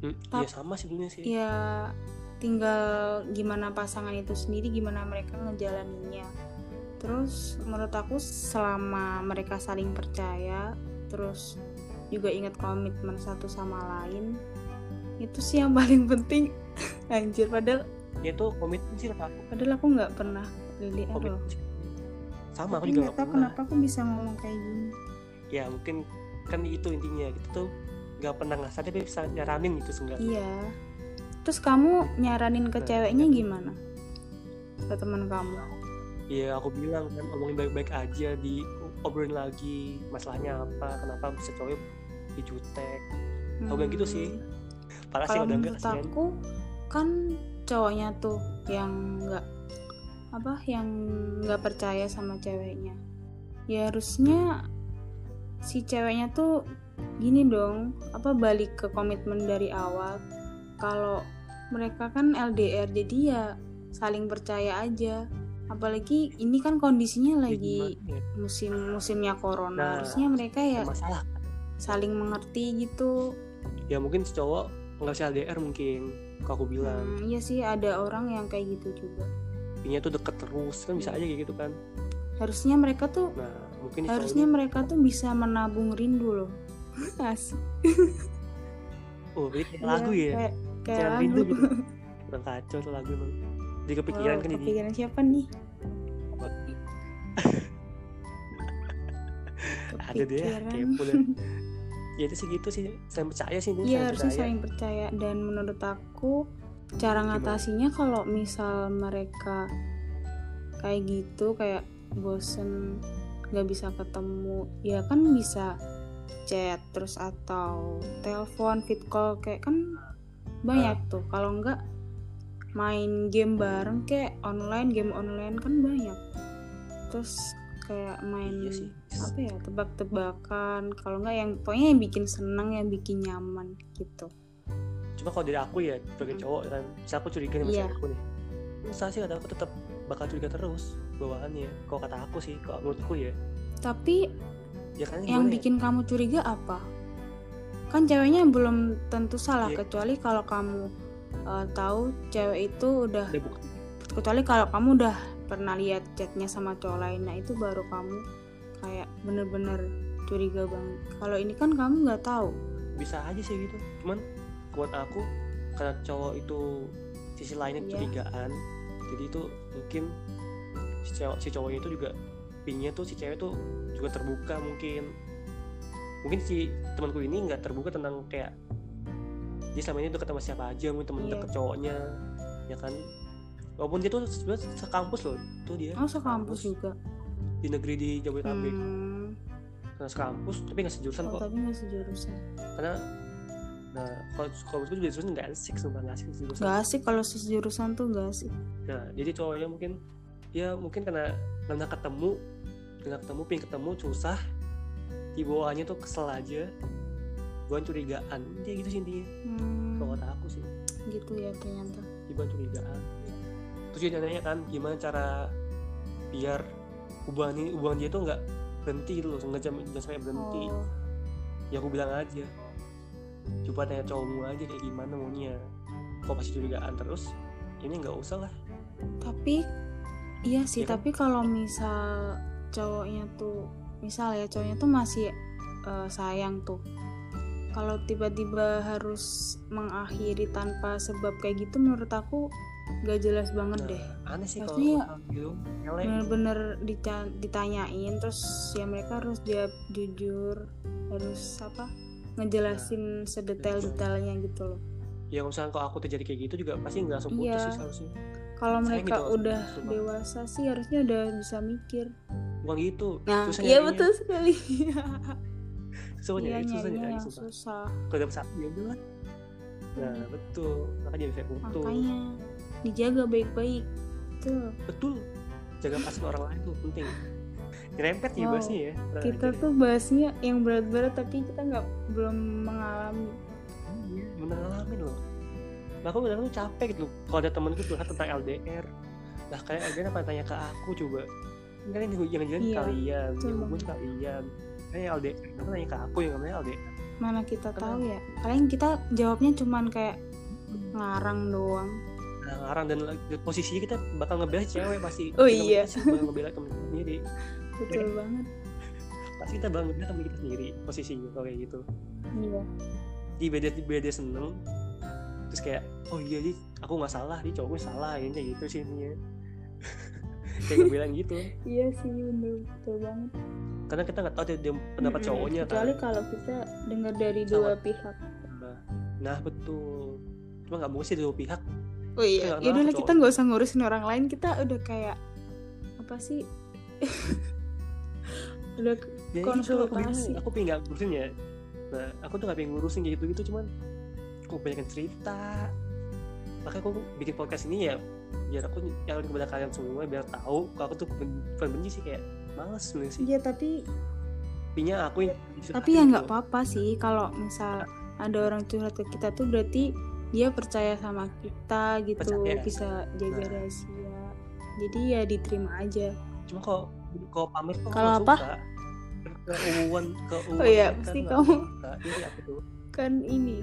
S1: Hmm,
S2: Tap-
S1: ya sama sih sebenarnya sih.
S2: ya tinggal gimana pasangan itu sendiri gimana mereka ngejalaninnya terus menurut aku selama mereka saling percaya terus juga ingat komitmen satu sama lain itu sih yang paling penting anjir padahal
S1: Dia tuh komitmen sih kata aku.
S2: padahal aku nggak pernah LDR loh
S1: Komitmen sih. Sama aku
S2: Tapi
S1: juga
S2: nggak
S1: gak
S2: tahu
S1: pernah.
S2: kenapa aku bisa ngomong kayak gini
S1: Ya mungkin kan itu intinya kita tuh nggak pernah ngasih tapi bisa nyaranin gitu seenggaknya.
S2: Iya. Terus kamu nyaranin ke
S1: Nah,
S2: ceweknya
S1: iya.
S2: gimana? Ke teman kamu.
S1: Iya aku bilang kan omongin baik-baik aja di obrolin lagi masalahnya apa kenapa bisa cowok dijutek. Aku bilang gitu sih. Parah sih
S2: Hmm. Kalau
S1: udah enggak
S2: menurut
S1: kasihan.
S2: aku kan cowoknya tuh yang nggak apa yang nggak percaya sama ceweknya. Ya harusnya si ceweknya tuh gini dong, apa balik ke komitmen dari awal. Kalau mereka kan LDR jadi ya saling percaya aja. Apalagi ini kan kondisinya
S1: Ya,
S2: lagi
S1: gimana ya?
S2: musim musimnya corona
S1: Nah,
S2: harusnya mereka ya
S1: Ada masalah.
S2: saling mengerti gitu
S1: Ya mungkin si cowok nggak bisa LDR mungkin. Kalau aku bilang
S2: Hmm, iya sih ada orang yang kayak gitu juga
S1: dia tuh deket terus kan
S2: Iya.
S1: bisa aja kayak gitu kan.
S2: harusnya mereka tuh
S1: Nah mungkin si cowok
S2: harusnya
S1: ini-
S2: mereka tuh bisa menabung rindu loh asik
S1: oh jadi kayak lagu ya.
S2: iya, kayak, kayak anu
S1: Jangan
S2: lagu
S1: rindu gitu Kurang kacau tuh lagu emang Jadi kepikiran
S2: Wow,
S1: kan jadi
S2: Oh, kepikiran siapa nih
S1: Ada deh ya,
S2: Kepikiran.
S1: kepo deh Ya itu segitu sih Saya percaya sih ini
S2: Iya
S1: saya
S2: harusnya
S1: percaya.
S2: saling percaya dan menurut aku cara ngatasinya kalau misal mereka kayak gitu kayak bosen nggak bisa ketemu ya kan bisa chat terus atau telepon fit call kayak kan banyak
S1: Ah.
S2: tuh kalau nggak main game bareng kayak online game online kan banyak terus kayak main
S1: Iya sih
S2: apa ya tebak-tebakan kalau nggak yang pokoknya yang bikin seneng yang bikin nyaman gitu
S1: Cuma kalau dari aku ya Sebagai
S2: Hmm.
S1: cowok kan Saya aku curiga nih
S2: Iya.
S1: sama aku nih Saya sih kata aku tetap Bakal curiga terus Bawaannya Kalau kata aku sih Kalau menurutku ya
S2: tapi
S1: Ya kan gimana
S2: yang
S1: ya?
S2: bikin kamu curiga apa kan ceweknya belum tentu salah
S1: Iya.
S2: kecuali kalau kamu eh, tahu cewek itu udah
S1: Ada bukti
S2: kecuali kalau kamu udah pernah lihat chatnya sama cowok lain nah itu baru kamu kayak bener-bener curiga banget kalau ini kan kamu nggak tahu
S1: Bisa aja sih gitu Cuman Buat aku Karena cowok itu Sisi lainnya
S2: Iya.
S1: kecurigaan Jadi itu mungkin Si cowok, si cowoknya itu juga Pinginnya tuh si cewek tuh Juga terbuka mungkin Mungkin si temanku ini nggak terbuka tentang kayak Dia selama ini deket sama siapa aja Mungkin temen
S2: Iya.
S1: deket cowoknya Ya kan Walaupun dia tuh sebenarnya sekampus loh Itu dia
S2: oh sekampus juga
S1: Di negeri di Jabodetabek
S2: hmm,
S1: Karena sekampus tapi nggak sejurusan
S2: oh,
S1: kok
S2: tapi nggak sejurusan
S1: karena nah kalau kalau menurutku juga jurusan nggak asik sumpah nggak asik jurusan
S2: nggak asik kalau sejurusan tuh nggak asik
S1: nah jadi cowoknya mungkin ya mungkin karena karena ketemu karena ketemu pengen ketemu susah di bawahnya tuh kesel aja gue curigaan dia gitu sih intinya
S2: Hmm,
S1: kalau kata aku sih
S2: gitu ya ternyata.
S1: tiba curigaan terus dia nanya kan gimana cara biar hubungan ini hubungan dia tuh nggak berhenti gitu loh sengaja jangan sampai berhenti
S2: Oh,
S1: ya aku bilang aja coba tanya cowokmu aja kayak gimana maunya kok pasti curigaan terus ini nggak usah lah
S2: tapi iya sih,
S1: Iya kan?
S2: tapi kalau misal cowoknya tuh misal ya cowoknya tuh masih eh, sayang tuh. Kalau tiba-tiba harus mengakhiri tanpa sebab kayak gitu menurut aku gak jelas banget deh.
S1: nah, aneh sih kalau
S2: Maksudnya-
S1: orang gitu nyelek
S2: bener-bener dica- ditanyain terus ya mereka harus jawab jujur harus apa
S1: Nah, iya.
S2: ngejelasin sedetail-detailnya gitu loh
S1: ya kalau misalkan kalau aku terjadi kayak gitu juga pasti nggak langsung putus
S2: Iya.
S1: sih seharusnya
S2: kalau
S1: Saya
S2: mereka
S1: gitu,
S2: udah
S1: sumpah.
S2: dewasa sih harusnya udah bisa mikir
S1: bukan gitu
S2: nah
S1: Susah
S2: iya
S1: nyarinya.
S2: betul sekali
S1: susah
S2: iya
S1: nyari susah
S2: nyarinya
S1: nyari
S2: yang
S1: gitu, susah
S2: susah
S1: kalau dapet satu ya udah lah nah
S2: Hmm.
S1: betul makanya bisa putus
S2: makanya dijaga baik-baik tuh
S1: betul jaga pasangan orang lain tuh penting nyerempet ya
S2: Wow.
S1: bahasnya ya Nah,
S2: kita
S1: jadi-
S2: tuh bahasnya yang berat-berat tapi kita nggak belum mengalami
S1: Iya, bener ngalamin loh Nah, aku kadang tuh capek gitu loh. kalau ada temenku curhat tentang LDR lah kalian LDR apa tanya ke aku coba Ini kalian yang jangan jalan
S2: Iya,
S1: kalian
S2: betul
S1: yang hubungin kalian kalian yang LDR kenapa tanya ke aku ya? yang namanya LDR
S2: mana kita
S1: Karena-
S2: tahu ya paling kita jawabnya cuman kayak ngarang doang
S1: nah, ngarang dan lagi- posisinya kita bakal ngebela cewek pasti
S2: Oh,
S1: Kita
S2: iya.
S1: pasti bakal ngebela temen kita sendiri
S2: betul banget
S1: pasti kita bakal ngebela temen kita sendiri posisinya kalau kayak gitu
S2: iya
S1: di beda beda seneng terus kayak oh iya sih aku nggak salah di cowoknya salah ini kayak gitu sih intinya kayak gue bilang gitu
S2: Iya sih bener betul banget.
S1: karena kita nggak tahu dia, dia pendapat
S2: Mm-mm.
S1: cowoknya kan
S2: Kecuali kalau kita dengar dari
S1: Sama.
S2: dua pihak.
S1: Nah, nah betul cuma nggak mungkin sih dua pihak
S2: Oh
S1: iya.
S2: Ya udahlah
S1: Cowok.
S2: kita nggak usah ngurusin orang lain. Kita udah kayak apa sih? udah
S1: ya,
S2: Konsultasi.
S1: aku, aku pengen nggak ngurusin ya nah aku tuh nggak pengen ngurusin gitu gitu cuman aku banyak cerita makanya aku bikin podcast ini ya biar aku nyalain kepada kalian semua biar tahu kalau aku tuh ben- bukan benci sih kayak males sebenarnya sih
S2: iya tapi
S1: intinya aku yang gitu.
S2: tapi ya nggak apa-apa sih kalau misal ada orang curhat ke kita tuh berarti dia percaya sama kita gitu
S1: Percaya. ya.
S2: bisa jaga
S1: Nah.
S2: rahasia. Jadi ya diterima aja.
S1: cuma kalau kalau pamer tuh aku
S2: Kalau
S1: nggak
S2: apa?
S1: suka. keuuan keuuan
S2: Oh iya,
S1: kan
S2: pasti
S1: nggak
S2: kamu
S1: suka. iya aku tuh
S2: kan ini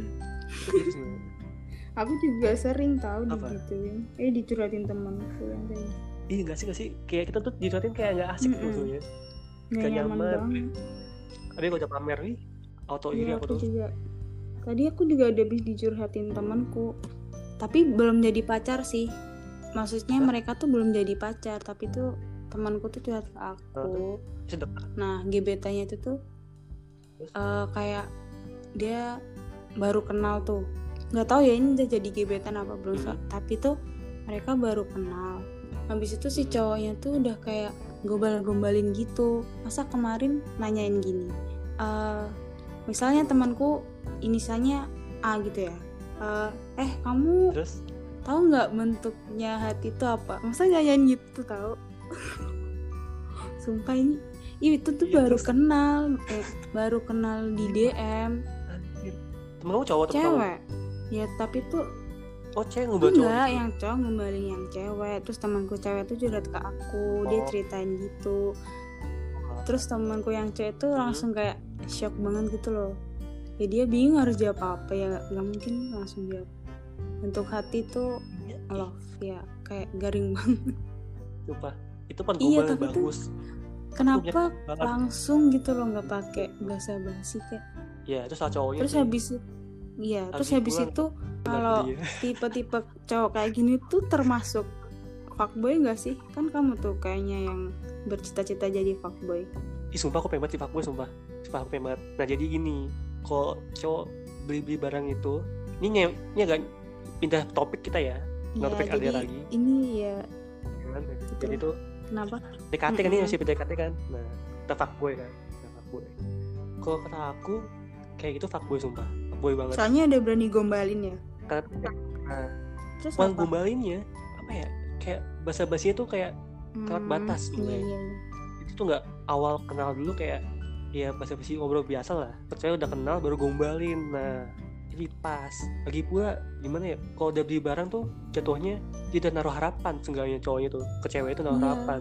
S1: Itu gitu sebenarnya.
S2: Aku juga sering tahu
S1: Apa?
S2: digituin. Eh dicurhatin temanku yang kayak
S1: Iya nggak sih nggak sih kayak kita tuh diceritain kayak nggak asik gitu
S2: Mm-mm.
S1: maksudnya.
S2: gak
S1: Gak
S2: nyaman
S1: nyaman.
S2: banget.
S1: Tapi kalau udah pamer nih auto iri
S2: Iya,
S1: aku
S2: aku
S1: tuh.
S2: juga. Tadi aku juga ada habis dicurhatin temanku. Tapi belum jadi pacar sih. Maksudnya
S1: Hah?
S2: mereka tuh belum jadi pacar, tapi tuh temanku tuh curhat ke aku.
S1: Sedek.
S2: Nah, gebetannya itu tuh
S1: Terus?
S2: eh, kayak dia baru kenal tuh. Nggak tahu ya ini udah jadi gebetan apa belum, so- tapi tuh mereka baru kenal. Habis itu si
S1: Hmm.
S2: cowoknya tuh udah kayak gombal-gombalin gitu. Masa kemarin nanyain gini. "Eh, misalnya temanku inisialnya A gitu ya. Eh, eh kamu
S1: Terus
S2: tahu nggak bentuknya hati itu apa masa nyanyian gitu tahu sumpah ini Ih, itu tuh
S1: Iya,
S2: baru
S1: terus?
S2: kenal eh, baru kenal di DM
S1: anjir. Temen kamu cowok temen kamu.
S2: cewek ya tapi tuh
S1: Oh cewek ngebawa cowok.
S2: enggak yang cowok ngembalin yang cewek terus temanku cewek tuh curhat ke aku dia
S1: Oh.
S2: ceritain gitu terus temanku yang cewek tuh
S1: Hmm.
S2: langsung kayak shock banget gitu loh ya dia bingung harus jawab apa ya nggak mungkin langsung jawab bentuk hati tuh
S1: Iya, ih,
S2: love ya kayak garing
S1: Iya.
S2: banget
S1: Sumpah. Itu kan
S2: Iya,
S1: gombal yang
S2: tapi tuh-
S1: bagus.
S2: kenapa
S1: Banget.
S2: langsung gitu loh nggak pakai bahasa basi kayak
S1: Iya itu salah cowoknya.
S2: terus
S1: sih.
S2: habis itu iya terus habis
S1: pulang,
S2: itu
S1: Kenapa
S2: kalau
S1: dia?
S2: tipe-tipe cowok kayak gini tuh termasuk fuckboy nggak sih kan kamu tuh kayaknya yang bercita-cita jadi fuckboy
S1: Ih sumpah aku pengen banget sifat gue sumpah Sumpah aku pengen banget Nah jadi gini Kalau cowok beli-beli barang itu Ini nye, ini agak pindah topik kita ya
S2: Iya,
S1: Nah topik
S2: jadi
S1: LDR lagi
S2: ini ya
S1: kan? Jadi itu
S2: kenapa
S1: PDKT kan ini
S2: Mm-mm.
S1: masih PDKT kan Nah kita fuckboy kan Kita fuckboy Kalau kata aku Kayak gitu fuckboy sumpah Fuckboy banget
S2: soalnya ada berani gombalin ya
S1: Karena nah,
S2: terus
S1: Bukan
S2: apa
S1: gombalinnya Apa ya Kayak bahasa-basinya tuh kayak
S2: Hmm,
S1: kelewat batas gitu ya. sebenarnya.
S2: iya, iya, iya.
S1: Itu tuh nggak awal kenal dulu kayak ya basa basi ngobrol biasa lah kecuali udah kenal baru gombalin nah jadi pas lagi pula gimana ya kalau udah beli barang tuh jatuhnya dia udah naruh harapan seenggaknya cowoknya tuh ke cewek itu naruh
S2: Iya.
S1: harapan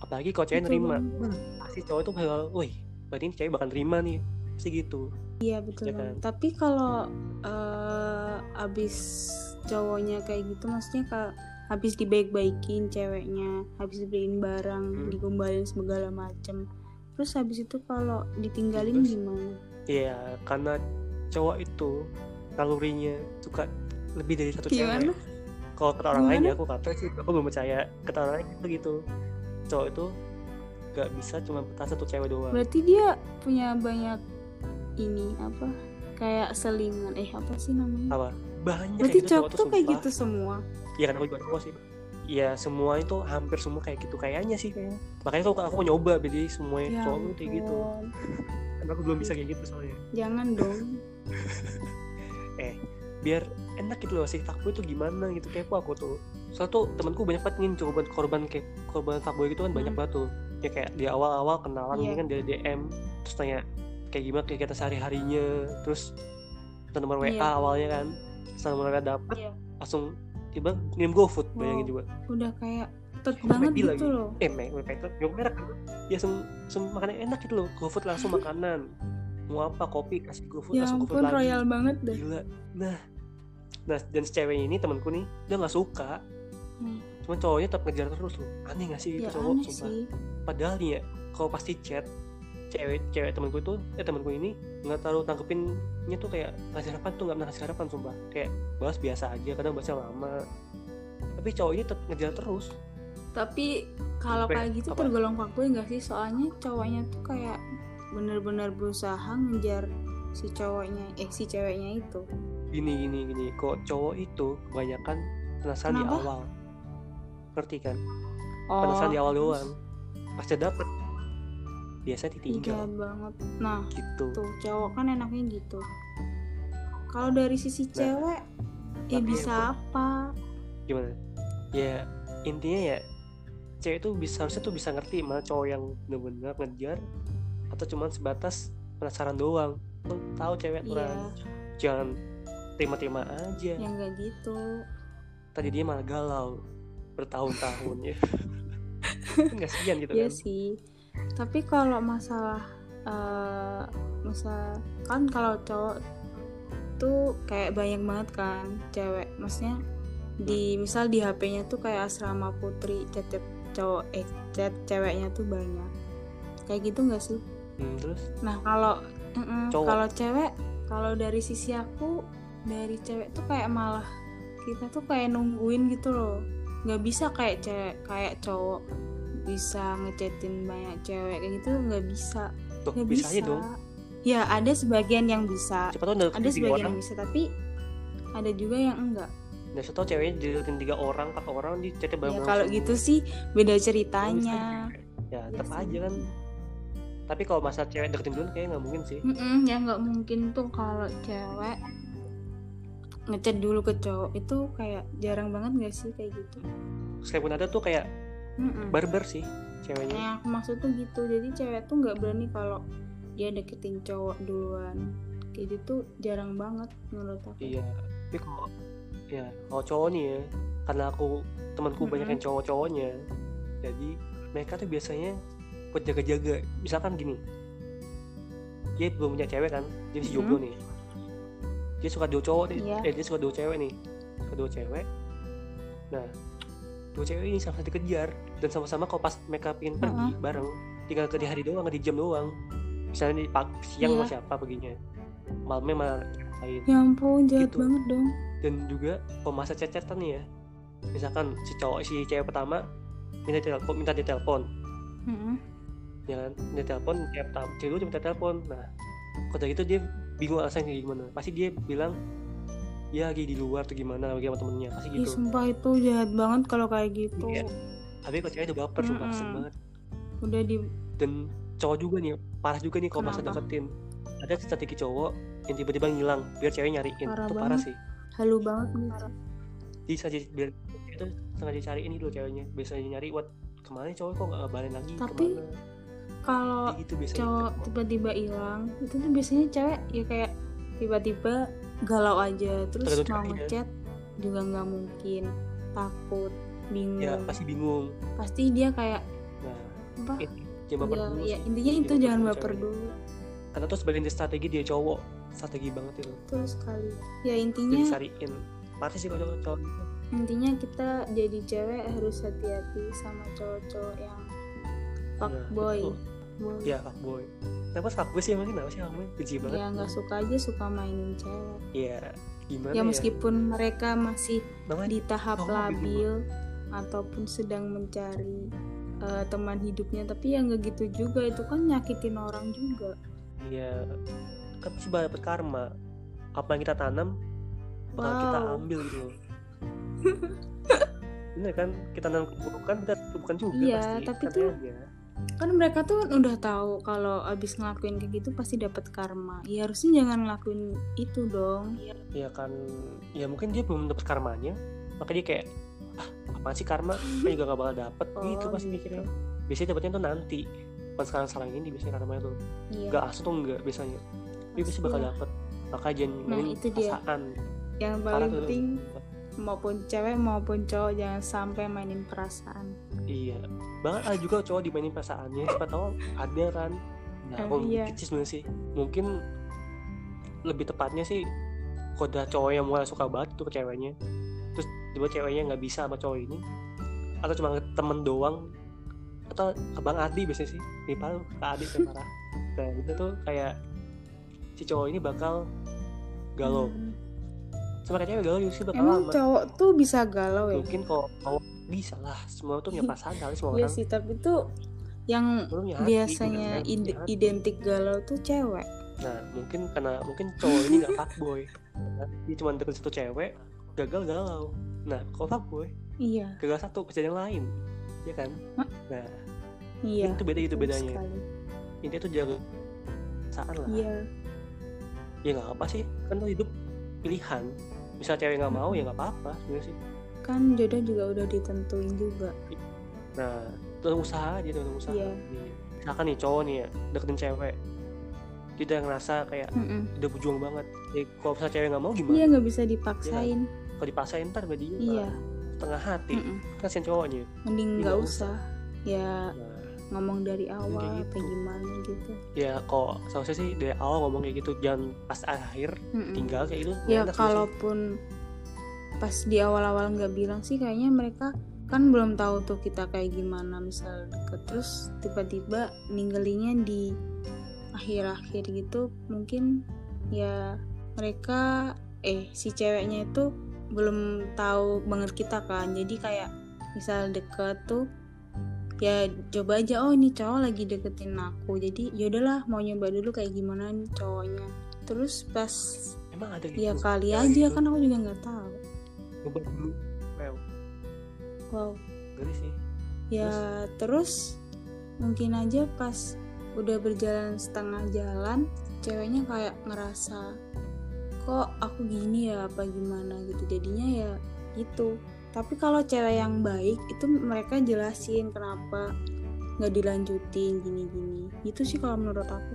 S1: apalagi kalau cewek
S2: Betul
S1: nerima
S2: banget.
S1: pasti cowok itu bakal wih berarti ini cewek bakal nerima nih pasti gitu
S2: Iya
S1: Ya
S2: betul
S1: kan?
S2: banget. Tapi kalau eh, abis cowoknya kayak gitu, maksudnya kalau habis dibaik-baikin ceweknya, habis dibeliin barang,
S1: Hmm.
S2: digombalin segala macem. Terus habis itu kalau ditinggalin
S1: Terus?
S2: gimana?
S1: ya karena cowok itu kalorinya suka lebih dari satu
S2: Gimana?
S1: cewek kalau kata orang lain
S2: Gimana?
S1: ya aku kata sih aku belum percaya kata orang lain itu gitu cowok itu gak bisa cuma betah satu cewek doang
S2: Berarti dia punya banyak ini apa? Kayak selingan. Eh apa sih namanya?
S1: apa banyak
S2: Berarti
S1: kayak gitu
S2: cowok tuh kayak
S1: sumpah.
S2: gitu semua.
S1: Iya kan aku juga cowok sih ya semua itu hampir semua kayak gitu kayaknya sih kayaknya makanya aku aku mau nyoba jadi semuanya
S2: Ya
S1: cowok tuh kayak gitu
S2: ampun.
S1: karena aku belum bisa kayak gitu soalnya
S2: Jangan dong.
S1: biar enak gitu loh si fuckboy itu gimana gitu kepo aku tuh soalnya tuh temanku banyak banget nih korban korban kayak korban fuckboy gitu kan banyak
S2: Hmm.
S1: banget tuh ya kayak di awal-awal kenalan
S2: Iya.
S1: ini kan dari DM terus tanya kayak gimana kegiatan sehari harinya terus atau nomor WA
S2: Iya.
S1: awalnya kan terus nomor WA dapet
S2: Iya. Oh.
S1: langsung tiba ngirim GoFood
S2: Wow.
S1: bayangin juga
S2: Udah kayak tet
S1: Sama
S2: banget
S1: Maggie
S2: gitu
S1: lagi.
S2: loh.
S1: eh me me- itu jauh merek kan. ya sem, sem makanan enak gitu loh GoFood langsung makanan mau apa kopi kasih GoFood
S2: Ya
S1: langsung
S2: ampun
S1: GoFood lagi
S2: royal banget deh.
S1: gila nah nah dan si cewek ini temanku nih dia nggak suka
S2: Hmm.
S1: cuman cowoknya tetap ngejar terus loh aneh gak sih itu
S2: Ya
S1: Iya, cowok
S2: aneh
S1: sumpah
S2: sih.
S1: padahal nih ya kalau pasti chat cewek cewek temanku itu eh temanku ini nggak terlalu tanggepinnya tuh kayak ngasih harapan tuh nggak pernah ngasih harapan sumpah kayak bahas biasa aja kadang bahasnya lama tapi cowok ini tetap ngejar terus
S2: Tapi kalau
S1: Apa ya?
S2: kayak gitu
S1: Apa?
S2: tergolong fuckboy nggak sih? Soalnya cowoknya tuh kayak bener-bener berusaha ngejar si cowoknya eh si ceweknya itu.
S1: gini gini gini kok cowok itu kebanyakan penasaran di
S2: Kenapa?
S1: awal ngerti kan
S2: Oh,
S1: penasaran di awal
S2: terus
S1: doang pas udah dapet biasanya ditinggal
S2: jahat banget. Nah,
S1: gitu
S2: tuh cowok kan enaknya gitu. Kalau dari sisi cewek ya
S1: tapi
S2: bisa
S1: ya,
S2: apa?
S1: gimana ya intinya ya cewek itu bisa harusnya tuh bisa ngerti mana cowok yang bener-bener ngejar atau cuman sebatas penasaran doang lu tahu cewek
S2: Iya.
S1: kurang jangan terima-terima aja
S2: Yang nggak gitu.
S1: tadi dia malah galau bertahun-tahun ya kan kasihan gitu
S2: Iya
S1: kan
S2: sih. Tapi kalau masalah eh masa kan kalau cowok tuh kayak banyak banget kan cewek. Maksudnya di
S1: Hmm.
S2: misal di HP-nya tuh kayak asrama putri chat chat cowok eh chat ceweknya tuh banyak. Kayak gitu nggak sih?
S1: Hmm, terus
S2: Nah, kalau mm-mm,
S1: Cowok.
S2: kalau cewek kalau dari sisi aku dari cewek tuh kayak malah kita tuh kayak nungguin gitu loh. nggak bisa kayak cewek kayak cowok bisa ngechatin banyak cewek kayak gitu nggak bisa.
S1: tuh
S2: nggak
S1: bisa aja dong
S2: Ya, ada sebagian yang bisa.
S1: siapa tau
S2: Ada
S1: deketin tiga
S2: sebagian
S1: orang
S2: yang bisa, tapi ada juga yang enggak.
S1: dan siapa tau ceweknya deketin tiga orang empat orang di chatnya
S2: Ya
S1: bareng
S2: kalau gitu sih beda ceritanya.
S1: ya
S2: Iya
S1: tetap
S2: sih.
S1: aja kan tapi kalau masa cewek deketin duluan kayaknya nggak mungkin sih
S2: Mm-mm, ya nggak mungkin tuh kalau cewek ngechat dulu ke cowok itu kayak jarang banget nggak sih kayak gitu
S1: sekalipun ada tuh kayak
S2: Mm-mm.
S1: barbar sih ceweknya
S2: yang aku maksud tuh gitu jadi cewek tuh nggak berani kalau dia deketin cowok duluan kayak gitu jarang banget menurut aku
S1: iya tapi kalau ya kalau cowok nih ya karena aku temanku
S2: Mm-mm.
S1: banyak yang cowok-cowoknya jadi mereka tuh biasanya buat jaga-jaga misalkan gini dia belum punya cewek kan dia masih jomblo nih dia suka dua cowok nih
S2: Iya.
S1: eh dia suka dua cewek nih suka dua cewek nah dua cewek ini sama-sama dikejar dan sama-sama kalau pas mereka pengen pergi bareng tinggal ke di hari doang di jam doang misalnya di pagi siang sama
S2: Iya.
S1: siapa paginya malamnya malah lain
S2: ya ampun jahat
S1: Gitu.
S2: banget dong
S1: dan juga pemasa cecetan nih ya misalkan si cowok si cewek pertama minta ditelepon minta ditelepon
S2: Mm-mm.
S1: ya kan minta telepon cewek pertama cewek dulu minta telepon nah kalau udah gitu dia bingung alasan kayak gimana pasti dia bilang ya lagi di luar tuh gimana lagi sama temennya pasti
S2: Ih,
S1: gitu
S2: sumpah itu jahat banget kalau kayak gitu
S1: Iya. tapi kalau cewek udah baper sumpah kesel
S2: Mm-mm.
S1: banget
S2: udah di
S1: dan cowok juga nih parah juga nih kalau masa
S2: Kenapa?
S1: deketin ada strategi cowok yang tiba-tiba ngilang biar cewek nyariin
S2: Parah
S1: itu parah
S2: banget.
S1: sih
S2: halu banget nih
S1: bisa jadi biar itu sengaja cariin dulu ceweknya biasanya nyari buat kemana nih cowok kok nggak ngabarin lagi
S2: Tapi-
S1: kemana Ya
S2: kalau
S1: gitu biasanya
S2: cowok tiba-tiba hilang itu tuh biasanya cewek ya kayak tiba-tiba galau aja terus
S1: Tergantung
S2: mau
S1: ceweknya.
S2: ngechat juga nggak mungkin takut bingung
S1: ya pasti bingung
S2: pasti dia kayak
S1: nah
S2: apa
S1: Eh, jangan baper
S2: ya,
S1: dulu
S2: ya
S1: sih. Iya,
S2: intinya itu jangan baper
S1: cewek.
S2: dulu
S1: karena tuh sebagian dari strategi dia cowok strategi banget itu
S2: terus kali ya
S1: jadi
S2: intinya
S1: sariin parah sih kalau cowok gitu
S2: intinya kita jadi cewek harus hati-hati sama cowok-cowok yang
S1: Nah,
S2: fuckboy
S1: Iya, betul.
S2: boy.
S1: ya fuckboy kenapa fuckboy sih emang kenapa sih fuckboy benci banget
S2: ya nggak suka aja suka mainin cewek
S1: ya gimana
S2: ya meskipun mereka masih
S1: namanya
S2: di tahap
S1: Kamu
S2: labil ataupun sedang mencari eh, teman hidupnya tapi ya nggak gitu juga itu kan nyakitin orang juga
S1: ya kan pasti bakal dapet karma apa yang kita tanam bakal kita
S2: Wow.
S1: ambil gitu loh bener kan kita tanam keburukan kita bukan juga
S2: Iya,
S1: pasti ya?
S2: tapi
S1: Santai
S2: tuh-
S1: aja.
S2: kan mereka tuh udah tahu kalau abis ngelakuin kayak gitu pasti dapat karma ya harusnya jangan ngelakuin itu dong
S1: ya kan ya mungkin dia belum dapet karmanya maka dia kayak ah apaan sih karma kan juga gak bakal dapet
S2: Oh,
S1: gitu pasti
S2: gitu.
S1: mikirnya biasanya dapetnya tuh nanti bukan sekarang sekarang ini biasanya karmanya tuh
S2: Iya,
S1: gak asuh tuh enggak biasanya dia pasti bakal
S2: pastilah.
S1: dapet maka jangan
S2: Nah,
S1: main
S2: itu dia.
S1: perasaan
S2: yang
S1: Parah
S2: paling
S1: tuh.
S2: penting maupun cewek maupun cowok jangan sampai mainin perasaan
S1: Iya, banget ada juga cowok dimainin perasaannya. Siapa tahu ada kan. Nah,
S2: Eh,
S1: aku
S2: iya.
S1: dikit sih sebenarnya sih. Mungkin lebih tepatnya sih kalau ada cowok yang mulai suka banget tuh ke ceweknya. Terus tiba ceweknya nggak bisa sama cowok ini atau cuma temen doang atau abang Adi biasanya sih di paru ke Adi ke parah nah itu tuh kayak si cowok ini bakal galau
S2: Hmm.
S1: sama kayak cewek galau juga sih bakal
S3: Emang
S1: lama
S3: cowok tuh bisa galau ya?
S1: mungkin kalau cowok bisa lah semua tuh punya pasangan kali semua
S2: Iya
S1: orang
S2: sih tapi tuh yang
S1: Lu punya hati,
S2: biasanya
S1: gitu kan,
S2: ide-
S1: punya hati.
S2: identik galau tuh cewek
S1: nah mungkin karena mungkin cowok ini nggak fuckboy dia cuma deket satu cewek gagal galau nah kalau fuckboy
S2: iya
S1: gagal satu kerja yang lain ya kan
S2: Hah?
S1: nah
S2: Hmm. iya
S1: itu beda itu
S2: betul
S1: bedanya Nah.
S2: sekali.
S1: intinya tuh jaga perasaan lah
S2: iya
S1: ya nggak apa sih kan tuh hidup pilihan misal cewek nggak mau ya
S2: Hmm.
S1: nggak apa-apa sebenarnya sih
S2: kan jodoh juga udah ditentuin juga
S1: nah terus usaha aja terus usaha
S2: Iya.
S1: Iya. misalkan nih cowok nih ya deketin cewek dia udah ngerasa kayak
S2: Mm-mm.
S1: udah berjuang banget ya, kalau misalnya cewek nggak mau gimana
S2: iya nggak bisa dipaksain
S1: kalau dipaksain ntar berarti dia
S2: iya Hmm.
S1: tengah hati kan
S2: Mm-mm.
S1: kasihan cowoknya
S2: mending
S1: Iya,
S2: nggak
S1: nggak
S2: usah ya
S1: nah,
S2: ngomong dari awal
S1: gitu.
S2: apa gimana gitu
S1: ya kok seharusnya sih dari awal ngomong kayak gitu jangan pas akhir
S2: Mm-mm.
S1: tinggal kayak gitu nggak
S2: Hmm. ya
S1: enak sih.
S2: kalaupun pas di awal-awal nggak bilang sih kayaknya mereka kan belum tahu tuh kita kayak gimana misal deket terus tiba-tiba ninggalinnya di akhir-akhir gitu mungkin ya mereka eh si ceweknya itu belum tahu banget kita kan jadi kayak misal deket tuh ya coba aja oh ini cowok lagi deketin aku jadi yaudahlah mau nyoba dulu kayak gimana nih cowoknya terus pas
S1: emang ada gitu
S2: Ya kali
S1: Ya,
S2: aja
S1: gitu.
S2: kan aku juga nggak tahu.
S1: coba dulu wow
S2: Wow.
S1: ngeri sih
S2: Ya terus mungkin aja pas udah berjalan setengah jalan, ceweknya kayak ngerasa kok aku gini ya apa gimana gitu. Jadinya ya gitu. Tapi kalau cewek yang baik itu mereka jelasin kenapa nggak dilanjutin gini-gini. Itu sih kalau menurut aku.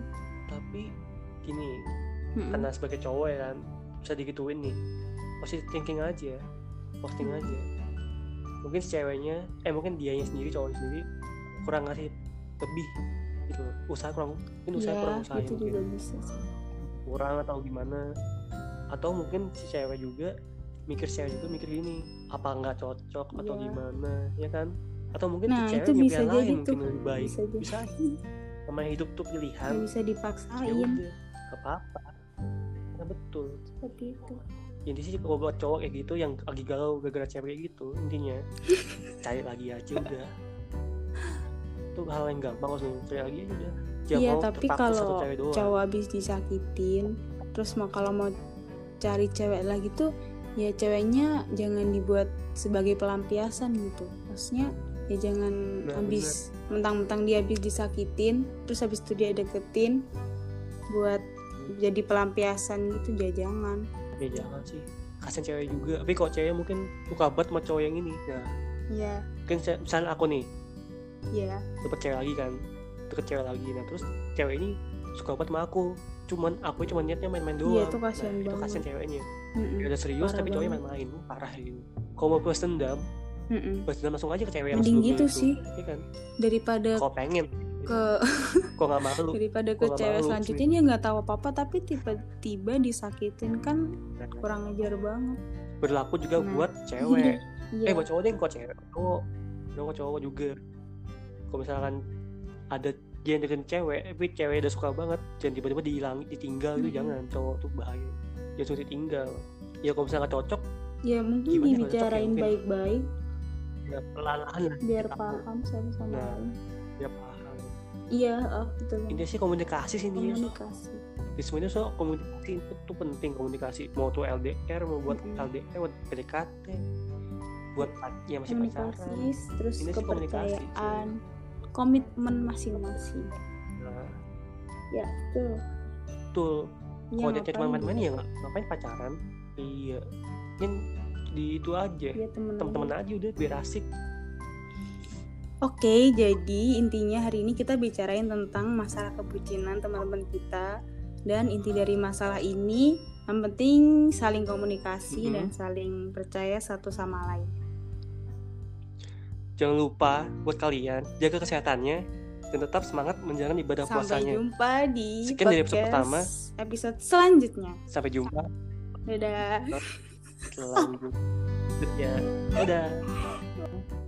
S1: tapi gini
S2: Mm-mm.
S1: karena sebagai cowok ya kan bisa digituin nih positive thinking aja posting aja mungkin si ceweknya eh mungkin dianya sendiri cowoknya sendiri kurang ngasih lebih gitu loh. usaha kurang mungkin usaha kurang
S2: Ya,
S1: usaha
S2: itu
S1: mungkin
S2: juga bisa sih.
S1: kurang atau gimana atau mungkin si cewek juga mikir si cewek juga mikir gini apa nggak cocok atau
S2: Iya.
S1: gimana ya kan atau mungkin
S2: Nah,
S1: si cewek
S2: itu
S1: punya
S2: bisa
S1: pilihan
S2: jadi
S1: lain mungkin
S2: tuh.
S1: lebih baik
S2: Bisa jadi. Iya.
S1: bisa aja. namanya hidup tuh pilihan
S2: Nggak bisa
S1: ya
S2: dipaksain
S1: udah gak apa-apa nah, betul
S2: seperti itu.
S1: intinya sih kalau buat cowok kayak gitu yang lagi galau gara-gara cewek kayak gitu intinya cari lagi aja udah itu hal yang gampang langsung cari lagi aja udah Jangan
S2: Iya
S1: mau
S2: tapi
S1: terpaku satu
S2: kalau
S1: cewek doang.
S2: cowok habis disakitin terus mau kalau mau cari cewek lagi tuh ya ceweknya jangan dibuat sebagai pelampiasan gitu maksudnya ya jangan
S1: Nah,
S2: habis mentang-mentang dia habis disakitin terus habis itu dia deketin buat jadi pelampiasan gitu ya jangan
S1: ya jangan sih kasian cewek juga tapi kalau cewek mungkin suka banget sama cowok yang ini nah
S2: ya
S1: mungkin saya- misalnya aku nih
S2: ya
S1: dapet cewek lagi kan deket cewek lagi nah terus cewek ini suka banget sama aku cuman aku cuma niatnya main-main doang
S4: Iya, itu kasihan
S1: nah, itu
S4: banget.
S1: kasihan ceweknya
S4: Mm-mm.
S1: dia udah serius
S4: parah
S1: tapi cowoknya
S4: banget.
S1: main-main parah gitu kalau mau balas dendam
S4: Mm-mm.
S1: balas dendam langsung aja ke cewek yang
S4: Mending
S1: sebelumnya
S4: gitu
S1: itu.
S4: sih.
S1: Iya kan
S4: daripada
S1: kalau pengen
S4: ke
S1: kok nggak malu
S4: daripada ke
S1: Gua nggak
S4: cewek
S1: malu
S4: selanjutnya
S2: ya
S4: dia nggak tahu apa apa tapi tiba-tiba disakitin kan
S1: Nah,
S4: kurang ajar banget
S1: berlaku juga
S4: Nah.
S1: buat cewek eh
S4: iya
S1: buat cowok deh kok cewek cowok cowok cowok juga kalau misalkan ada dia yang deketin cewek tapi cewek udah suka banget jangan tiba-tiba dihilang ditinggal itu
S4: Hmm.
S1: jangan cowok tuh bahaya jangan suruh ditinggal ya kalau misalkan cocok
S4: ya mungkin
S1: gimana kalau cocok ya,
S4: dibicarain
S1: mungkin.
S4: baik-baik
S1: ya pelan-pelan lah
S4: biar
S1: Tahu.
S4: paham satu sama
S1: Nah.
S4: lain
S1: ya paham
S4: iya
S2: ah,
S4: oh, betul banget.
S1: intinya sih komunikasi sih intinya
S4: komunikasi
S1: di semuanya soal komunikasi itu tuh penting komunikasi mau tuh LDR mau buat
S4: Mm-mm.
S1: LDR buat PDKT buat pa- ya masih
S4: komunikasi
S1: pacaran
S4: terus
S1: Ini sih komunikasi,
S4: kepercayaan komitmen masing-masing
S1: nah
S4: ya betul
S1: tuh
S4: Ya,
S2: Iya,
S1: kalau dia cuma
S4: ngapain
S1: main-main
S4: juga.
S1: ya nggak ngapain pacaran iya yang di itu aja
S2: Iya,
S4: ya temen
S1: temen-temen aja udah biar asik
S2: Oke, jadi intinya hari ini kita bicarain tentang masalah kebucinan teman-teman kita dan inti dari masalah ini yang penting saling komunikasi
S1: Mhm.
S2: dan saling percaya satu sama lain.
S1: jangan lupa buat kalian jaga kesehatannya dan tetap semangat menjalani ibadah
S2: Sampai
S1: puasanya
S2: jumpa di
S1: Sekian dari episode
S2: podcast
S1: pertama.
S2: episode selanjutnya.
S1: sampai jumpa
S2: Dadah.
S1: ya. selanjutnya dadah